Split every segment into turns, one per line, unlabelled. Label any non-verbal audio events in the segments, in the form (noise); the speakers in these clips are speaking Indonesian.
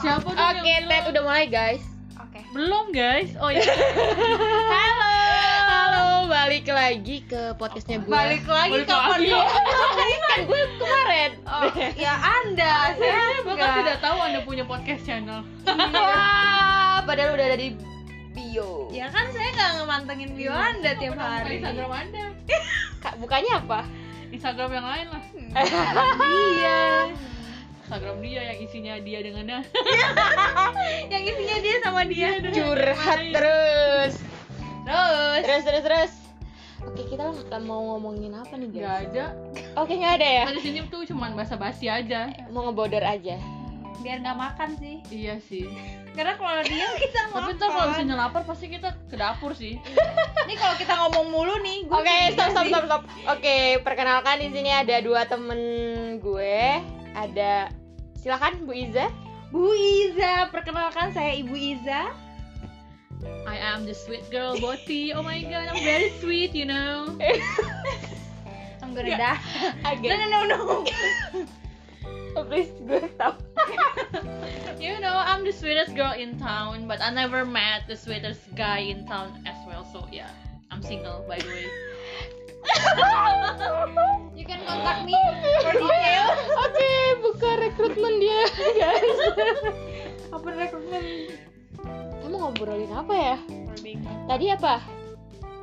siapa dong
Ah, Oke,
yang
Ted
bilang?
udah mulai guys.
Oke.
Belum guys. Oh iya.
(laughs) Halo. Halo, balik lagi ke podcastnya gue.
Balik Iya. lagi
Balik
kapan
lagi.
dong?
(laughs) kan gue kemarin.
Oh, ya Anda, saya
Iya,
Saya bahkan
enggak.
Iya, tidak tahu Anda punya podcast channel.
Wah, padahal udah ada di bio.
Ya
kan saya nggak ngemantengin
Iya,
bio Anda
Apa nama Instagram Iya, Anda.
Kak, bukannya apa?
Instagram yang lain lah.
Iya.
Instagram dia yang isinya dia dengan dia.
(laughs) Yang isinya dia sama dia.
(laughs) Curhat
ya?
terus.
Iya. Terus.
Terus terus terus. Oke, kita akan mau ngomongin apa
Gak
nih, guys?
ada.
Oke, nggak ada ya.
Pada sini tuh cuman basa-basi aja.
Mau ngebodor aja.
Biar nggak makan sih.
Iya sih.
Karena kalau dia kita
Tapi ntar kalau misalnya lapar pasti kita ke dapur sih.
Ini kalau kita ngomong mulu nih. gua
Oke, stop stop stop stop. Oke, perkenalkan di sini ada dua temen gue. Ada silakan Bu Iza.
Bu Iza, perkenalkan saya Ibu Iza.
I am the sweet girl, Boti. Oh my god, I'm very sweet, you know.
Anggurda. No
Agak.
no no no.
Oh, Please gue stop.
You know, I'm the sweetest girl in town, but I never met the sweetest guy in town as well. So yeah, I'm single by the (laughs) way.
You can contact me for detail.
Oke, buka rekrutmen dia, (laughs) guys.
Apa rekrutmen?
Kamu ngobrolin apa ya? Tadi apa?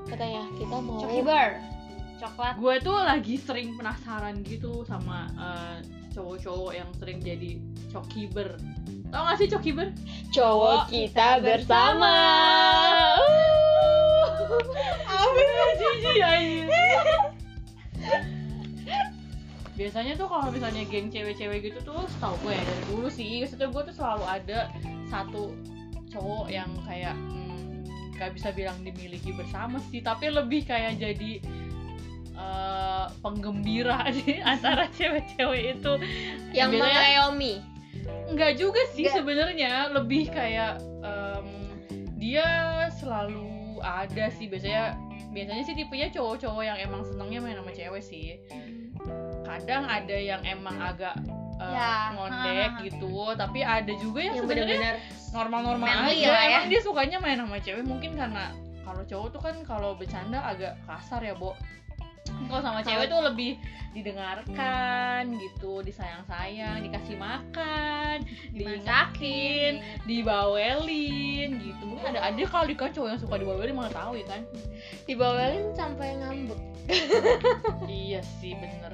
Katanya kita mau
Coki Bar. Coklat.
Gue tuh lagi sering penasaran gitu sama eh, cowok-cowok yang sering jadi cokiber. Tau gak sih cokiber?
cowok kita bersama.
Jijik anjing. Biasanya tuh kalau misalnya geng cewek-cewek gitu tuh setahu gue ya dari dulu sih Setahu gue tuh selalu ada satu cowok yang kayak hmm, gak bisa bilang dimiliki bersama sih Tapi lebih kayak jadi eh, penggembira (laughs) di antara cewek-cewek itu
Yang
Biasanya-
mengayomi.
Enggak juga sih
Nggak.
sebenarnya lebih kayak em, dia selalu ada sih biasanya biasanya sih tipenya cowok-cowok yang emang senangnya main sama cewek sih kadang ada yang emang agak eh,
Ya, (laughs)
ngondek
ha, ha, ha.
gitu tapi ada juga yang,
Yang
sebenarnya
benar-benar
normal-normal aja
Manly lah ya.
emang dia sukanya main sama cewek mungkin karena kalau cowok tuh kan kalau bercanda agak kasar ya bo kalau sama cewek tuh lebih didengarkan gitu disayang-sayang dikasih makan dimasakin dibawelin gitu mungkin ada ada kali kan cowok yang suka dibawelin malah tahu ya kan
dibawelin sampai ngambek.
iya sih (laughs) bener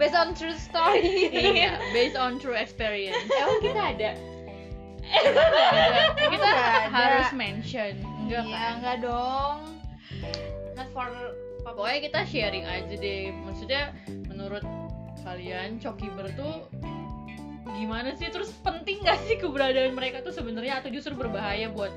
Based on true story.
iya based on true experience
Emang Ya, oh, kita ada?
Ada. kita
Nggak ada.
harus mention enggak
Iya,
kan?
enggak dong. Not for public.
pokoknya kita sharing aja deh maksudnya menurut kalian cokiber tuh gimana sih terus penting gak sih keberadaan mereka tuh sebenarnya atau justru berbahaya buat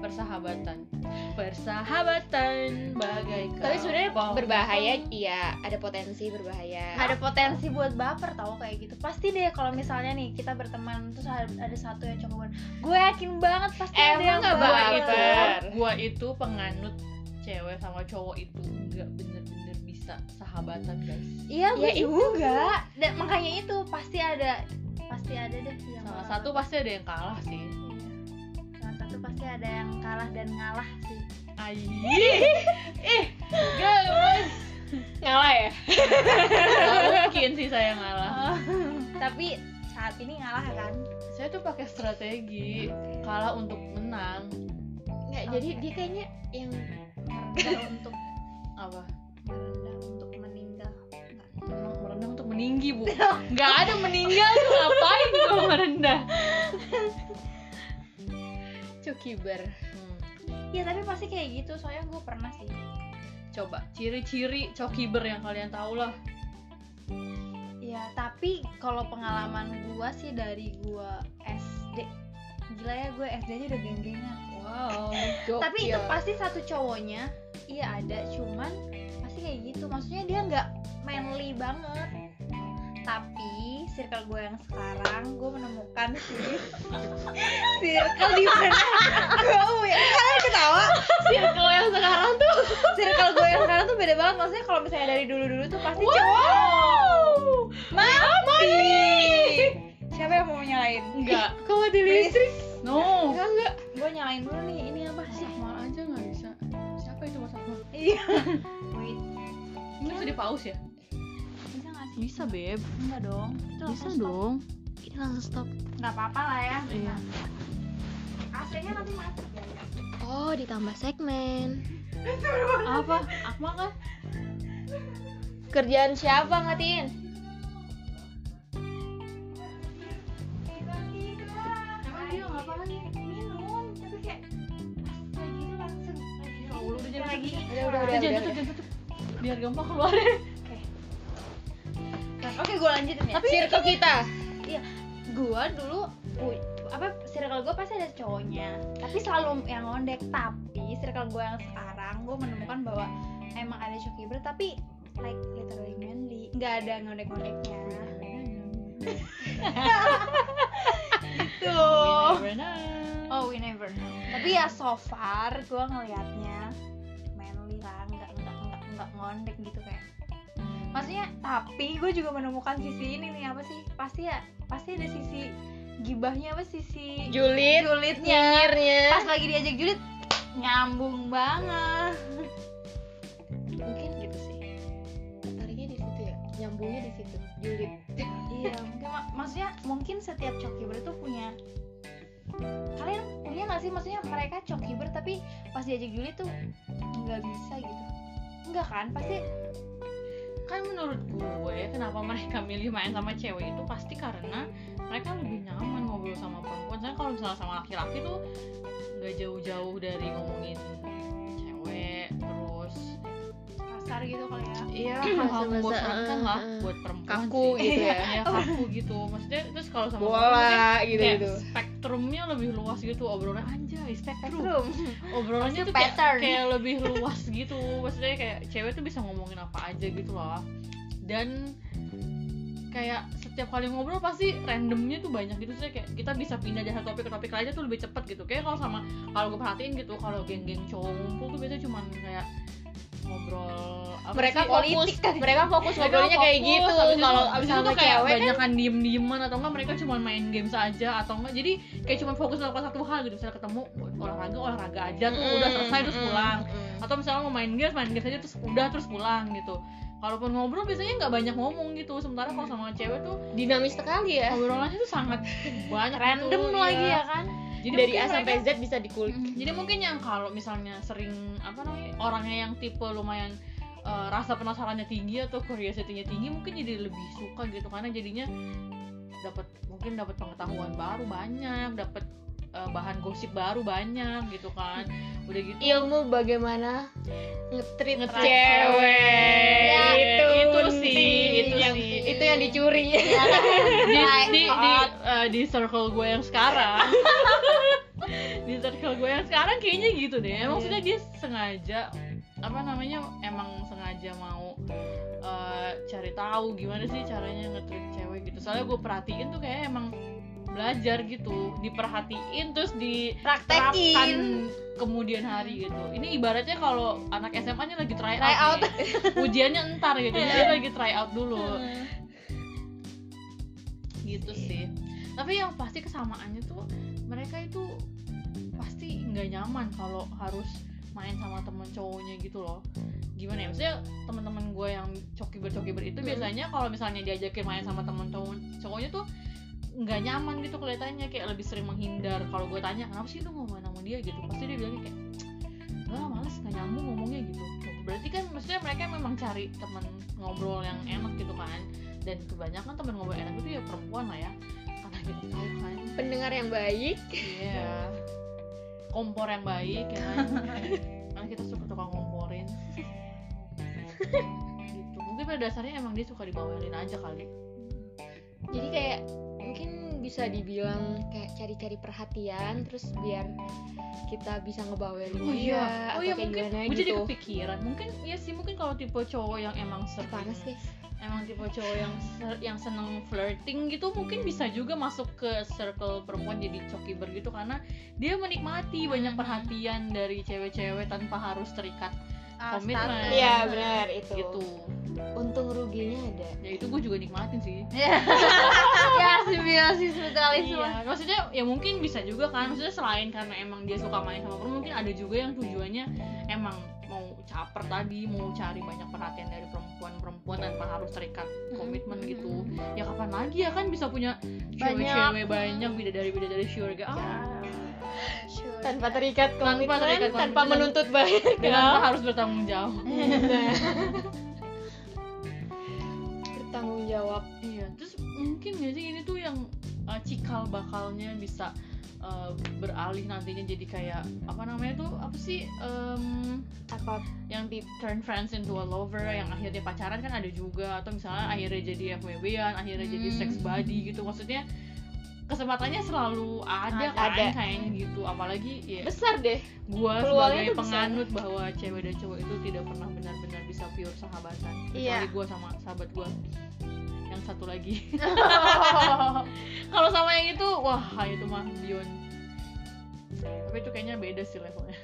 persahabatan persahabatan bagaikan
Tapi sebenarnya
Wow.
berbahaya, iya ada potensi berbahaya.
Ada potensi buat baper tau kayak gitu. Pasti deh kalau misalnya nih kita berteman terus ada, ada satu yang coba Gue yakin banget pasti ada
Emang
yang
nggak
gua
baper?
itu
Baper.
gua itu penganut cewek sama cowok itu nggak bener-bener bisa sahabatan guys
Iya, gue
Ya, itu.
juga. Dan makanya itu pasti ada pasti ada deh yang
salah
baper.
satu pasti ada yang kalah sih
Iya. Salah satu pasti ada yang kalah dan ngalah sih.
Ai.
(laughs)
Ih, gak guys.
ngalah ya?
Nggak mungkin sih saya ngalah.
(laughs) Tapi saat ini ngalah kan.
Saya tuh pakai strategi kalah untuk menang.
Nggak, jadi dia kayaknya yang
Merendah untuk
Apa?
merendah untuk meninggal.
Emang merendah untuk meninggi, Bu. Nggak ada meninggal tuh ngapain
(laughs)
gua merendah.
cukiber.
Hmm,
Iya tapi pasti kayak gitu soalnya gue pernah sih.
coba ciri-ciri cokiber yang kalian tahu lah.
Iya tapi kalau pengalaman gue sih dari gue SD. Gila ya gue SD aja udah geng-gengan.
Wow.
Tapi itu
Gokil.
pasti satu cowoknya. Iya ada cuman pasti kayak gitu. Maksudnya dia nggak manly banget. Tapi circle gue yang sekarang gue menemukan (laughs) sih circle di (laughs) mana gue oh, iya. kalian ketawa
circle yang sekarang tuh
circle gue yang sekarang tuh beda banget maksudnya kalau misalnya dari dulu dulu tuh pasti cowok
wow
mati siapa yang mau nyalain
Enggak.
Kok mati listrik?
No.
Enggak, enggak.
gue nyalain dulu nih ini apa sih
Sakmal aja nggak bisa. Siapa itu Mas Sakmal?
iya wait
Ini bisa di pause ya?
bisa nggak sih
Bisa, Beb.
enggak dong Itu langsung stop.
dong. Ini langsung stop.
nggak apa-apa lah ya
Iya.
aslinya nanti mati
Oh, ditambah segmen.
Apa? Akmal kan?
Kerjaan siapa ngatiin?
Emang dia ngapain?
minum tapi kayak pas lagi itu langsung lagi
Ya Allah, udah jangan
lagi
tutup.
Udah, udah,
Udah,
udah.
jangan tutup, jangan tutup. Biar gampang keluarin.
oke gue lanjutin ya
Circle kita.
gue dulu pu- apa circle gue pasti ada cowoknya tapi selalu yang ngondek tapi circle gue yang sekarang gue menemukan bahwa emang ada cowok kibra tapi like literally manly nggak ada ngondek-ngondeknya
Iya,
gitu oh we never know tapi ya so far gue ngelihatnya manly lah nggak nggak nggak nggak ngondek gitu kayak maksudnya tapi gue juga menemukan sisi ini nih apa sih pasti ya pasti ada sisi gibahnya apa sisi
Julid,
julidnya pas
nyinyirnya.
lagi diajak julid nyambung banget
Mungkin
gitu sih
tariknya di situ ya. Nyambungnya di situ. Julid.
iya mungkin mak- maksudnya mungkin setiap cokiber itu punya kalian punya nggak sih maksudnya mereka cokiber tapi pas diajak julid tuh nggak bisa gitu enggak kan pasti
kan menurut gue kenapa mereka milih main sama cewek itu pasti karena mereka lebih nyaman ngobrol sama perempuan soalnya kalau misalnya sama laki-laki tuh nggak jauh-jauh dari ngomongin cewek terus
kasar gitu kali ya
(clears throat) iya hal-hal
Bahasa-bahasa,
membosankan lah
eh, eh.
buat perempuan
Kaku
sih.
gitu ya.
Iya, kaku gitu maksudnya terus kalau sama perempuan
(laughs) Bola gitu
tuh kayak
gitu-gitu.
spektrumnya lebih luas gitu obrolannya anjay spektrum
Room.
obrolannya
Pasti
tuh kayak,
pattern.
kayak lebih luas gitu maksudnya kayak cewek tuh bisa ngomongin apa aja gitu loh dan kayak setiap kali ngobrol pasti randomnya tuh banyak gitu sih kayak kita bisa pindah dari satu topik ke topik lainnya tuh lebih cepet gitu kayak kalau sama kalau gue perhatiin gitu kalau geng-geng cowok ngumpul tuh biasanya cuman kayak ngobrol apa
Mereka
sih?
fokus, kan. mereka fokus
Mereka
ngobrolnya kayak
fokus,
gitu.
habis itu-
Kalau
habis
abis
itu
sama
tuh kayak
cewek kan
banyakan diem-dieman atau enggak mereka cuma main game saja atau enggak jadi kayak cuma fokus melakukan satu hal gitu misalnya ketemu olahraga olahraga aja tuh udah
Hmm,
selesai terus pulang atau misalnya mau main games main games aja terus udah terus pulang gitu kalaupun ngobrol biasanya nggak banyak ngomong gitu sementara kalau sama cewek tuh
Dinamis sekali ya.
obrolannya tuh sangat banyak
random
gitu,
lagi
iya.
ya kan
jadi
Dari
mungkin
A sampai
mereka-
Z bisa dikulik.
Mm, jadi mungkin yang kalau misalnya sering apa namanya orangnya yang tipe lumayan eh, rasa penasarannya tinggi atau curiosity-nya tinggi mungkin jadi lebih suka gitu karena jadinya dapat mungkin dapat pengetahuan baru banyak dapat eh, bahan gosip baru banyak gitu kan udah gitu
Ilmu bagaimana ngetrit
Hmm.
Ngetrit
cewek.
Ya,
itu,
itu sih, itu
yang,
sih.
Itu yang dicuri.
di di di, eh, di circle gue yang
(laughs)
sekarang di circle gue yang sekarang kayaknya gitu deh
Iya.
emang sudah dia sengaja apa namanya emang sengaja mau eh, cari tahu gimana sih caranya nge-treat cewek gitu soalnya gue perhatiin tuh kayak emang belajar gitu diperhatiin terus di
praktekin
kemudian hari gitu ini ibaratnya kalau anak SMA nya lagi try out,
Try out. Iya.
nih. ujiannya entar gitu jadi dia lagi try out dulu gitu sih tapi yang pasti kesamaannya tuh mereka itu pasti nggak nyaman kalau harus main sama temen cowoknya gitu loh gimana ya maksudnya teman-teman gue yang cokiber cokiber itu
Hmm.
biasanya kalau misalnya diajakin main sama temen cowok cowoknya tuh nggak nyaman gitu kelihatannya kayak lebih sering menghindar kalau gue tanya kenapa sih lu mau main sama dia gitu pasti dia bilangnya kayak enggak lah males nggak nyambung ngomongnya gitu berarti kan maksudnya mereka memang cari temen ngobrol yang enak gitu kan dan kebanyakan temen ngobrol enak itu ya perempuan lah ya karena gitu tahu kan
Pendengar yang baik.
Iya. Kompor yang baik ya (laughs) kan. Karena kita suka tukang ngomporin. gitu. Mungkin pada dasarnya emang dia suka dibawelin aja kali.
Jadi kayak mungkin bisa dibilang kayak cari-cari perhatian terus biar kita bisa ngebawelin
Oh
dia
iya.
atau
Oh iya
kayak
mungkin
gimana
gue
gitu.
jadi kepikiran. Mungkin ya sih mungkin kalau tipe cowok yang emang
Ih,
sering
panas guys.
emang tipe cowok yang ser- yang seneng flirting gitu mungkin bisa juga masuk ke circle perempuan jadi cokiber gitu karena dia menikmati banyak perhatian dari cewek-cewek tanpa harus terikat
Ah,
komitmen.
status.
Iya,
Iya benar itu.
gitu
untung ruginya ada
ya itu gue juga nikmatin sih
Iya. (laughs) ya simbiosis mutualisme
Iya, maksudnya ya mungkin bisa juga kan. Maksudnya selain karena emang dia suka main sama perempuan, mungkin ada juga yang tujuannya emang mau caper tadi, mau cari banyak perhatian dari perempuan-perempuan tanpa harus terikat komitmen gitu. Ya kapan lagi ya kan bisa punya cewek-cewek
Banyak.
banyak, bidadari bidadari surga.
Iya.
Ah,
Sure.
tanpa terikat
Tanpa
komitmen Ya. tanpa,
terikat komitmen.
menuntut (laughs) bayar
kenapa harus bertanggung jawab?
bertanggung jawab
Iya, terus mungkin gak sih ini tuh yang uh, cikal bakalnya bisa uh, beralih nantinya jadi kayak apa namanya tuh apa sih em,
apa
yang di turn friends into a lover yang akhirnya pacaran kan ada juga atau misalnya akhirnya jadi FWB-an akhirnya jadi
Hmm.
sex buddy gitu maksudnya kesempatannya selalu ada, kan
Ada.
kayaknya gitu apalagi ya
besar deh
gua
peluangnya
sebagai
tuh besar.
penganut bahwa cewek dan cowok itu tidak pernah benar-benar bisa pure sahabatan
Iya.
kecuali gua sama sahabat gua yang satu lagi kalau sama yang itu wah itu mah beyond tapi itu kayaknya beda sih levelnya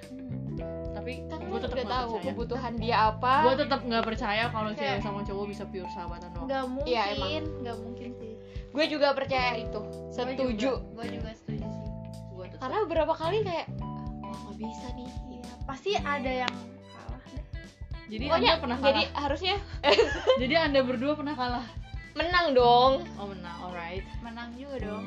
tapi
kan
gua
lu
tetap
udah
nggak
tahu
percaya
kebutuhan dia apa
gue tetap nggak percaya kalau cewek
Kayak-
sama cowok bisa pure sahabatan
Ah.
doang
nggak
Iya,
mungkin
emang.
nggak mungkin sih
gue juga percaya itu setuju
gue juga setuju sih
Gua tetap-
karena beberapa kali kayak wah nggak bisa nih
iya pasti ada yang kalah deh.
jadi
pokoknya
anda pernah kalah
jadi harusnya
jadi... anda berdua pernah kalah
menang dong
oh menang alright
menang juga dong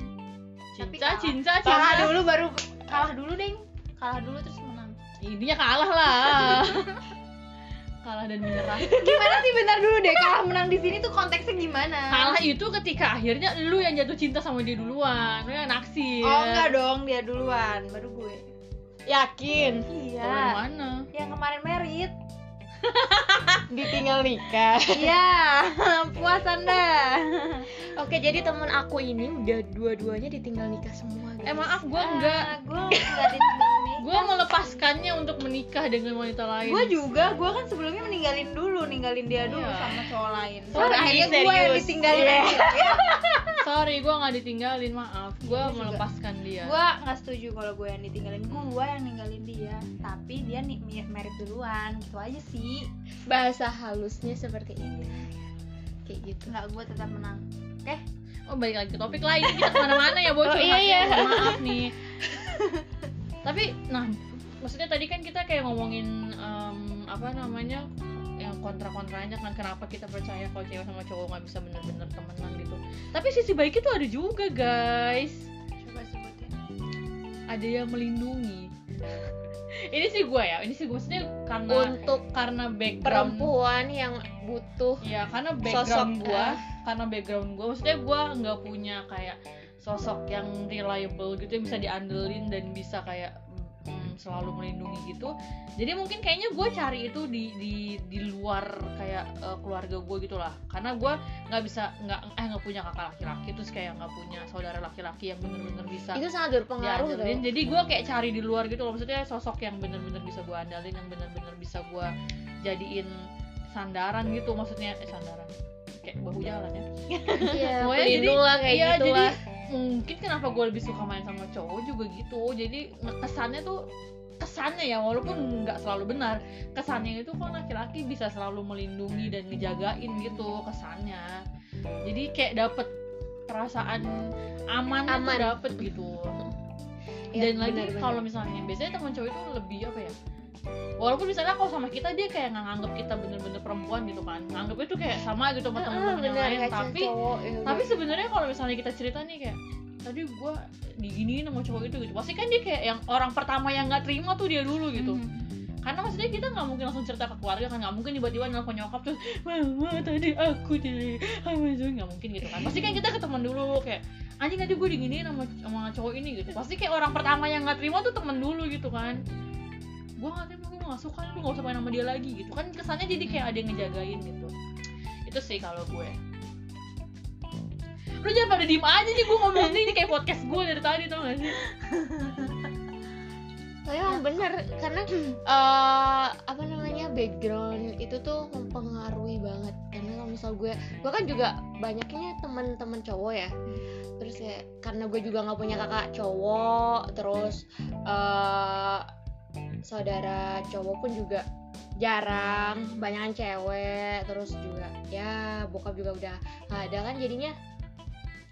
Tapi
cinta
Hmm. kalah.
cinta
Kalah
cinta
dulu baru
kalah dulu deng kalah dulu terus menang
intinya kalah
(laughs)
lah kalah dan menyerah
gimana sih bentar dulu deh kalah menang di sini tuh konteksnya gimana
kalah itu ketika akhirnya lu yang jatuh cinta sama dia duluan lu yang naksir
oh enggak dong dia duluan baru gue
yakin
Kalau yang
iya
mana
yang kemarin merit
ditinggal nikah
iya (laughs) puas anda
(laughs) Oke, jadi temen aku ini udah dua-duanya ditinggal nikah semua. guys.
eh maaf gue enggak
gue Ah, enggak ditinggal nih
gue melepaskannya untuk menikah dengan wanita lain
gue juga gue kan sebelumnya ninggalin dulu ninggalin dia dulu
Iya.
sama cowok lain
Sorry,
Terus akhirnya gue yang
serius.
ditinggalin
Iya.
sorry gue nggak ditinggalin maaf gue
Gua juga.
melepaskan dia
gue nggak setuju kalau gue yang ditinggalin gue yang ninggalin dia tapi dia ni- mi- merit duluan gitu aja sih
bahasa halusnya seperti ini. Kayak gitu.
nggak gue tetap menang
Oh balik lagi ke topik lain kita kemana-mana ya bocor
Oh, iya, iya. (laughs)
maaf nih. Tapi nah maksudnya tadi kan kita kayak ngomongin em, apa namanya yang kontra-kontranya kan kenapa kita percaya kalau cewek sama cowok nggak bisa bener-bener temenan gitu. Tapi sisi baiknya tuh ada juga guys.
coba sebutin
Ada yang melindungi. (laughs) ini sih gue ya, ini sih gue maksudnya karena
Untuk
karena background
perempuan yang butuh
Ya karena
Sosok,
background gua,
eh.
karena background gua maksudnya gua nggak punya kayak sosok yang reliable gitu yang bisa diandelin dan bisa kayak mm, selalu melindungi gitu. Jadi mungkin kayaknya gua cari itu di di di luar kayak eh, keluarga gua gitu lah. Karena gua nggak bisa nggak eh nggak punya kakak laki-laki terus kayak nggak punya saudara laki-laki yang bener-bener bisa
itu sangat
(laughs)
berpengaruh tuh.
diandelin. Jadi gua kayak cari di luar gitu loh. Maksudnya sosok yang bener-bener bisa gua andalin, yang bener-bener bisa gua jadiin sandaran gitu. Maksudnya eh, sandaran kayak bahu jalan ya.
Iya,
Pokoknya jadi-
pelindung lah kayak
Iya
gitu
jadi
lah.
mungkin kenapa gua lebih suka main sama cowok juga gitu. Jadi kesannya tuh kesannya ya walaupun nggak selalu benar kesannya itu kok laki-laki bisa selalu melindungi dan ngejagain gitu kesannya jadi kayak dapet perasaan aman, tuh
Aman.
dapet gitu
Iya,
dan lagi
benar-benar.
kalau misalnya biasanya teman cowok itu lebih apa ya walaupun misalnya kalau sama kita dia kayak nggak nganggap kita bener-bener perempuan gitu kan nganggap itu kayak sama gitu sama teman-teman yang
benar
lain
kayak
tapi
cowok, ya udah.
tapi sebenarnya kalau misalnya kita cerita nih kayak tadi gue diginiin sama cowok itu gitu pasti kan dia kayak yang orang pertama yang nggak terima tuh dia dulu gitu karena maksudnya kita nggak mungkin langsung cerita ke keluarga kan nggak mungkin tiba-tiba nelfon nyokap terus mama tadi aku di sama itu nggak mungkin gitu kan pasti kan kita ke teman dulu kayak anjing tadi gue diginiin sama, sama cowok ini gitu pasti kayak orang pertama yang nggak terima tuh teman dulu gitu kan gue nggak terima gue nggak suka lu nggak usah main sama dia lagi gitu kan kesannya jadi kayak ada yang ngejagain gitu itu sih kalau gue lu jangan pada diem aja nih gue ngomong ini kayak podcast gue dari tadi tau gak sih
Tapi emang bener karena eh, apa namanya background itu tuh mempengaruhi banget karena kalau misal gue gue kan juga banyaknya teman-teman cowok ya terus ya karena gue juga nggak punya kakak cowok terus eh, saudara cowok pun juga jarang banyakan cewek terus juga ya bokap juga udah nggak ada kan jadinya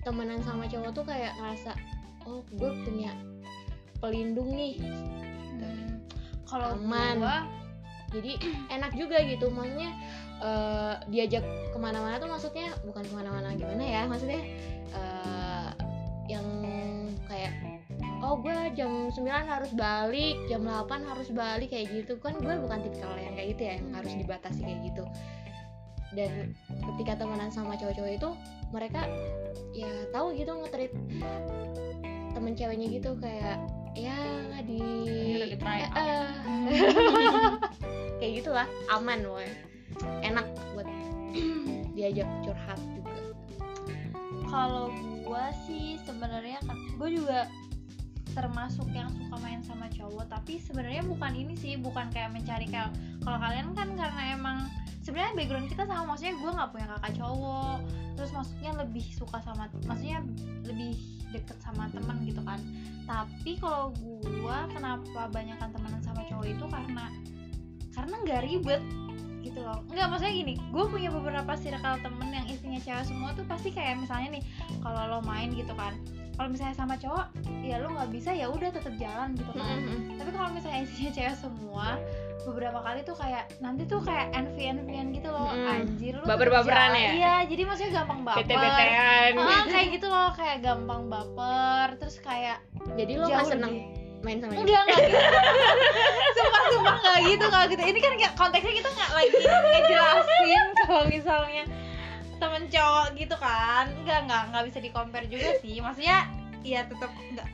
temenan sama cowok tuh kayak ngerasa oh gue punya pelindung nih
Hmm, kalau
Aman.
gua
jadi (clears throat) enak juga gitu maksudnya eh, diajak kemana-mana tuh maksudnya bukan kemana-mana gimana ya maksudnya eh, yang kayak oh gue jam 9 harus balik jam 8 harus balik kayak gitu kan gue bukan tipikal yang kayak gitu ya yang harus dibatasi kayak gitu dan ketika temenan sama cowok-cowok itu mereka ya tahu gitu nge-treat temen ceweknya gitu kayak ya di
udah di-try out.
Eh, (laughs) kayak gitulah aman woy enak buat diajak curhat juga
kalau gua sih sebenarnya kan gua juga termasuk yang suka main sama cowok tapi sebenarnya bukan ini sih bukan kayak mencari kayak kalau kalian kan karena emang sebenarnya background kita sama maksudnya gua nggak punya kakak cowok terus maksudnya lebih suka sama maksudnya lebih deket sama teman gitu kan tapi kalau gua kenapa banyakkan temenan sama cowok itu karena karena nggak ribet gitu loh nggak maksudnya gini gue punya beberapa circle temen yang isinya cewek semua tuh pasti kayak misalnya nih kalau lo main gitu kan kalau misalnya sama cowok ya lo nggak bisa ya udah tetap jalan gitu kan tapi kalau misalnya isinya cewek semua beberapa kali tuh kayak nanti tuh kayak envy envyan gitu loh
Mm.
anjir lu
Baper-baperan
tetep
ya?
jalan. iya jadi maksudnya gampang baper
bete-betean
Ah, kayak gitu loh kayak gampang baper terus kayak
jadi lo
jauh
nggak seneng
deh.
main sama dia
Enggak, enggak gitu. (laughs) sumpah, sumpah enggak gitu, enggak gitu. Ini kan nggak- konteksnya kita enggak lagi ngejelasin (laughs) kalau misalnya temen cowok gitu kan. Enggak, enggak, enggak bisa di-compare juga sih. Maksudnya ya tetap enggak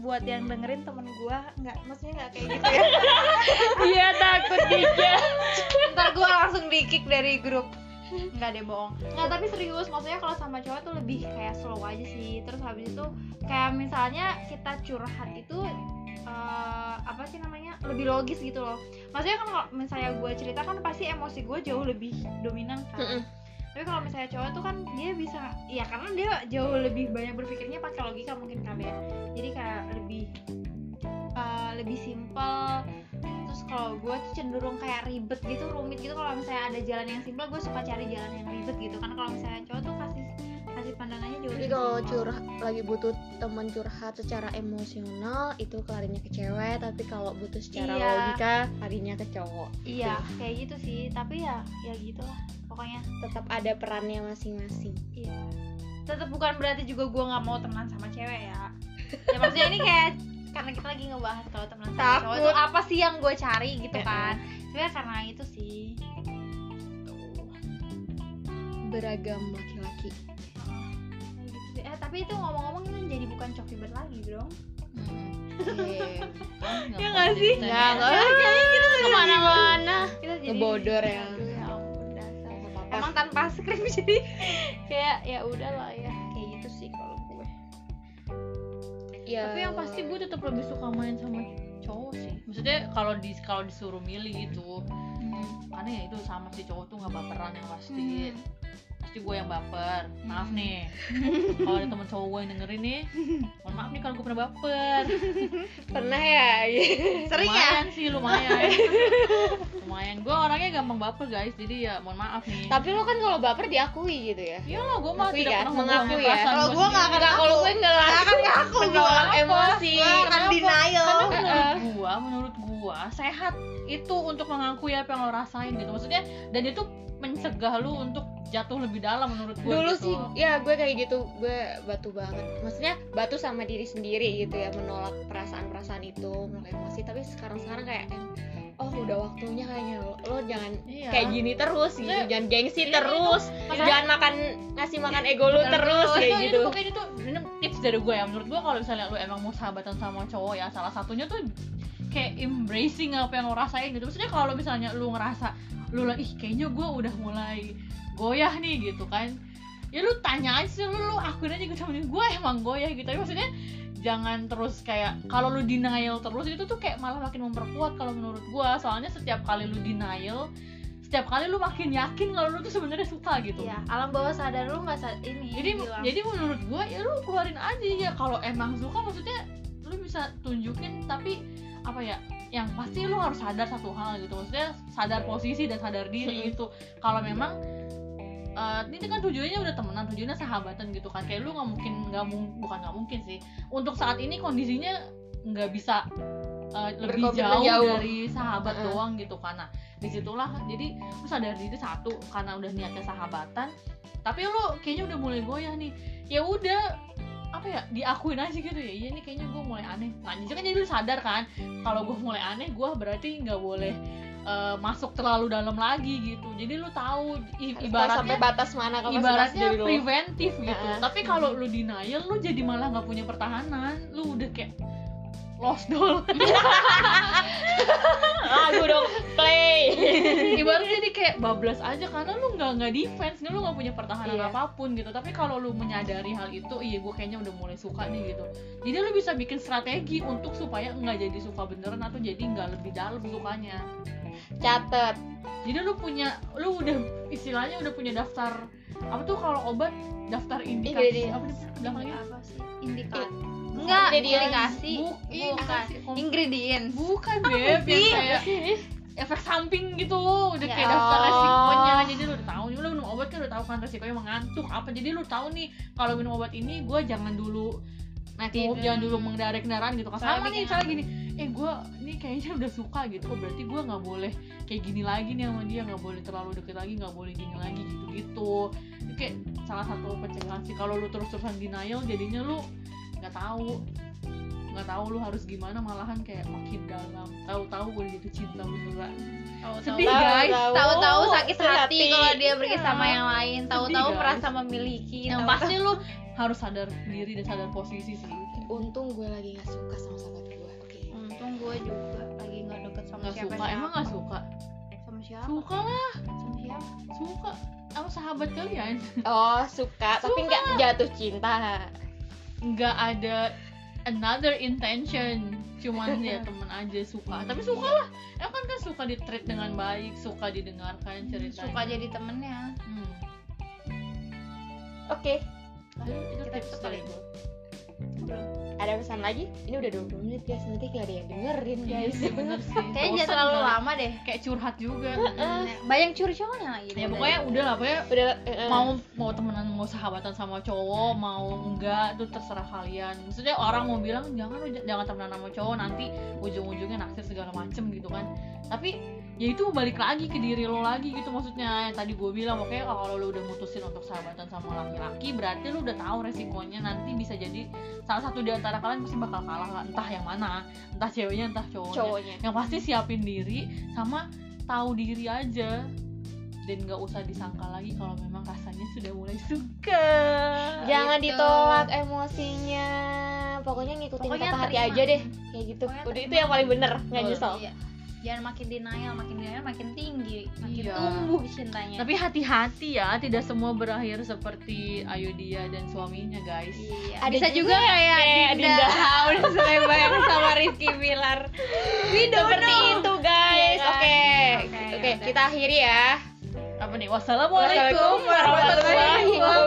buat yang dengerin temen gua enggak maksudnya enggak kayak gitu ya.
dia iya, takut dia
Ntar gua langsung di-kick dari grup. Enggak deh bohong. Enggak, tapi serius maksudnya kalau sama cowok tuh lebih kayak slow aja sih. Terus habis itu kayak misalnya kita curhat itu eh, apa sih namanya lebih logis gitu loh maksudnya kan kalau misalnya gue cerita kan pasti emosi gue jauh lebih dominan kan
Mm-mm.
tapi kalau misalnya cowok tuh kan dia bisa ya karena dia jauh lebih banyak berpikirnya pakai logika mungkin kali ya jadi kayak lebih eh, lebih simpel terus kalau gue tuh cenderung kayak ribet gitu rumit gitu kalau misalnya ada jalan yang simpel gue suka cari jalan yang ribet gitu kan kalau misalnya cowok tuh kasih kasih pandangannya jauh
jadi
lebih
kalau
simpel.
curhat lagi butuh teman curhat secara emosional itu kelarinya ke cewek tapi kalau butuh secara
Iya.
logika larinya ke cowok
Iya, kayak gitu sih. Tapi ya, ya gitulah. Pokoknya,
tetap ada perannya masing-masing
iya. Tetap bukan berarti juga gua nggak mau temenan sama cewek ya. Ya maksudnya ini kayak karena kita lagi ngebahas kalau temenan sama cowok
Takut.
itu apa sih yang gue cari gitu
Ya.
kan. Sebenarnya karena itu sih.
beragam laki-laki
Heeh. Kayak gitu sih. Eh tapi itu ngomong-ngomong itu jadi bukan coki bird lagi bro (laughs)
Iya.
Iya
Ya nggak sih?
nggak
Iya,
nggak kemana-mana
Kita jadi
Ngebodor ya.
Aduh, ya ampun, dasar.
Nggak apa-apa.
Emang (laughs) tanpa skrip jadi kayak ya udahlah ya kayak gitu sih kalau gue.
Ya,
tapi yang pasti gue tetap lebih suka main sama cowok sih maksudnya kalau di kalau disuruh milih gitu karena ya itu sama si cowok tuh nggak baperan yang pasti
Hmm.
pasti gue yang baper maaf
Hmm. (laughs)
nih kalau ada temen cowok gue yang dengerin nih mohon maaf nih kalau gue pernah baper
pernah ya
Sering ya?
lumayan sih
(laughs)
lumayan lumayan gue orangnya gampang baper guys jadi ya mohon maaf nih
tapi lo kan kalau baper diakui gitu ya
Iya lah, gue mah
Akui
tidak
kan?
pernah
Mengakui
mengakui
ya?
perasaan
Kalau
gua
gua nggak
sendiri.
akan-
Enggak, kalau gue nggak
Akan ngaku gua.
menolak emosi
Gua akan
Kenapa?
denial.
Karena menurut gua, menurut gua sehat itu untuk mengakui apa yang lo rasain gitu. Maksudnya dan itu mencegah lu untuk jatuh lebih dalam menurut gua
dulu
gitu.
sih ya gue kayak gitu gue batu banget maksudnya batu sama diri sendiri gitu ya menolak perasaan-perasaan itu menolak emosi tapi sekarang sekarang kayak oh udah waktunya kayaknya lo, lo jangan
Iya.
kayak gini terus gitu
Iya.
jangan gengsi
Iya,
terus
Masalah-
jangan makan ngasih makan ego lo
Dan
terus
itu, itu,
kayak gitu
Iya, Itu, Oh, pokoknya itu ini tips dari gue ya. Menurut gue kalau misalnya lu emang mau sahabatan sama cowok ya, salah satunya tuh kayak embracing apa yang lo rasain gitu. Maksudnya kalau misalnya lu ngerasa lu lah ih kayaknya gue udah mulai goyah nih gitu kan. Ya lu tanya aja sih, lu, lu akuin aja gitu sama dia, gue emang goyah gitu. Tapi maksudnya jangan terus kayak kalau lu denial terus itu tuh kayak malah makin memperkuat kalau menurut gue. Soalnya setiap kali lu denial setiap kali lu makin yakin kalau lu tuh sebenarnya suka gitu
Iya, alam bawah sadar lu nggak saat ini.
jadi
bilang.
jadi menurut gue ya lu keluarin aja ya kalau emang suka maksudnya lu bisa tunjukin tapi apa ya yang pasti lu harus sadar satu hal gitu maksudnya sadar posisi dan sadar diri gitu kalau memang eh, ini kan tujuannya udah temenan tujuannya sahabatan gitu kan kayak lu nggak mungkin nggak mung- bukan nggak mungkin sih untuk saat ini kondisinya nggak bisa eh, lebih jauh,
Berkomitmen jauh.
dari sahabat
Heeh.
doang gitu karena disitulah jadi lu sadar diri satu karena udah niatnya sahabatan tapi lu kayaknya udah mulai goyah nih ya udah apa ya diakuin aja gitu ya iya nih kayaknya gue mulai aneh nah jadi kan jadi lu sadar kan kalau gue mulai aneh gue berarti nggak boleh eh, masuk terlalu dalam lagi gitu jadi lu tahu i-
Harus tahu sampai
ibaratnya
batas mana kapasitas
ibaratnya
diri lu.
preventif gitu
Heeh.
tapi kalau lu denial lu jadi malah nggak punya pertahanan lu udah kayak lost (laughs) doll
lagu dong play
ibaratnya jadi kayak bablas aja karena lu nggak nggak defense lu nggak punya pertahanan
Iya.
apapun gitu tapi kalau lu menyadari hal itu iya gue kayaknya udah mulai suka nih gitu jadi lu bisa bikin strategi untuk supaya nggak jadi suka beneran atau jadi nggak lebih dalam sukanya
catet
jadi lu punya lu udah istilahnya udah punya daftar apa tuh kalau obat daftar indikasi
Ingredients.
apa sih belakangnya
apa sih indikator enggak
Enggak, ingredients.
indikasi
Buk-
bukan
indikasi kom-
ingredients
iya, bukan beb yang
sih?
kayak efek samping gitu udah
Ya
kayak daftar
Allah.
resikonya jadi lu udah tahu Jadi lu minum obat kan udah tahu kan resikonya mengantuk apa jadi lu tahu nih kalau minum obat ini gue jangan dulu naik
Tidur.
mobil jangan dulu mengendarai kendaraan gitu kan
Soalnya
sama nih
bikin
misalnya gini eh gue ini kayaknya udah suka gitu oh, berarti gue nggak boleh kayak gini lagi nih sama dia nggak boleh terlalu deket lagi nggak boleh gini lagi gitu gitu itu kayak salah satu pencegahan sih kalau lu terus terusan denial jadinya lu nggak tahu nggak tahu lu harus gimana malahan kayak makin dalam tahu-tahu udah jatuh cinta beneran
tahu-tahu
sedih guys
tahu-tahu sakit hati iya. kan? kalau dia pergi sama yang lain tahu-tahu
guys.
merasa memiliki
yang
tahu-tahu-
pasti lu harus sadar diri dan sadar posisi sih
untung gue lagi nggak suka sama sahabat gue oke
untung gue juga lagi nggak deket sama
nggak
siapa
suka emang nggak suka
sama siapa
suka lah
sama siapa
suka sama sahabat kalian
oh suka tapi
Suka.
nggak jatuh cinta
nggak ada another intention cuman
(laughs)
ya temen aja suka
Hmm.
tapi suka lah emang kan kan suka di treat dengan baik suka didengarkan ceritanya
suka jadi temennya
Hmm.
oke
Jadi itu
Kita
tips
tutup
dari
kali.
gue
ada pesan lagi ini udah 20 menit guys nanti gak ada yang dengerin
Iya
guys
sih, bener sih.
kayaknya
Bosan
jangan terlalu
kali.
lama deh
kayak curhat juga
Iya. banyak curcol-nya lagi
ya pokoknya udah lah pokoknya
(laughs) udah eh,
mau mau temenan mau sahabatan sama cowok mau enggak tuh terserah kalian maksudnya orang mau bilang jangan lu j- jangan temenan sama cowok nanti ujung-ujungnya naksir segala macem gitu kan tapi ya itu balik lagi ke diri lo lagi gitu maksudnya yang tadi gue bilang pokoknya kalau lo udah mutusin untuk sahabatan sama laki-laki berarti lo udah tahu resikonya nanti bisa jadi salah satu di antara kalian pasti bakal kalah lah. entah yang mana entah ceweknya entah cowoknya
cowoknya
yang pasti siapin diri sama tahu diri aja dan nggak usah disangka lagi kalau memang rasanya sudah mulai suka
jangan
gitu.
ditolak emosinya pokoknya ngikutin
Pokoknya
kata hati
terima.
aja deh kayak gitu
Pokoknya
udah
terima.
itu yang paling bener nggak
Betul.
nyesel
Iya. jangan makin denial makin denial makin tinggi makin
Iya.
tumbuh cintanya
tapi hati-hati ya tidak semua berakhir seperti Ayu Dia dan suaminya guys
Iya.
Ada
bisa juga,
juga
kayak
kayak
Dinda,
Dinda. (laughs)
Haun Suleba yang sama Rizky Bilar. We don't
seperti
know.
itu
Iya
guys
kan?
oke
Oke,
oke
udah.
kita akhiri ya
apa nih wassalamualaikum
warahmatullahi
warahmatullahi
Iya.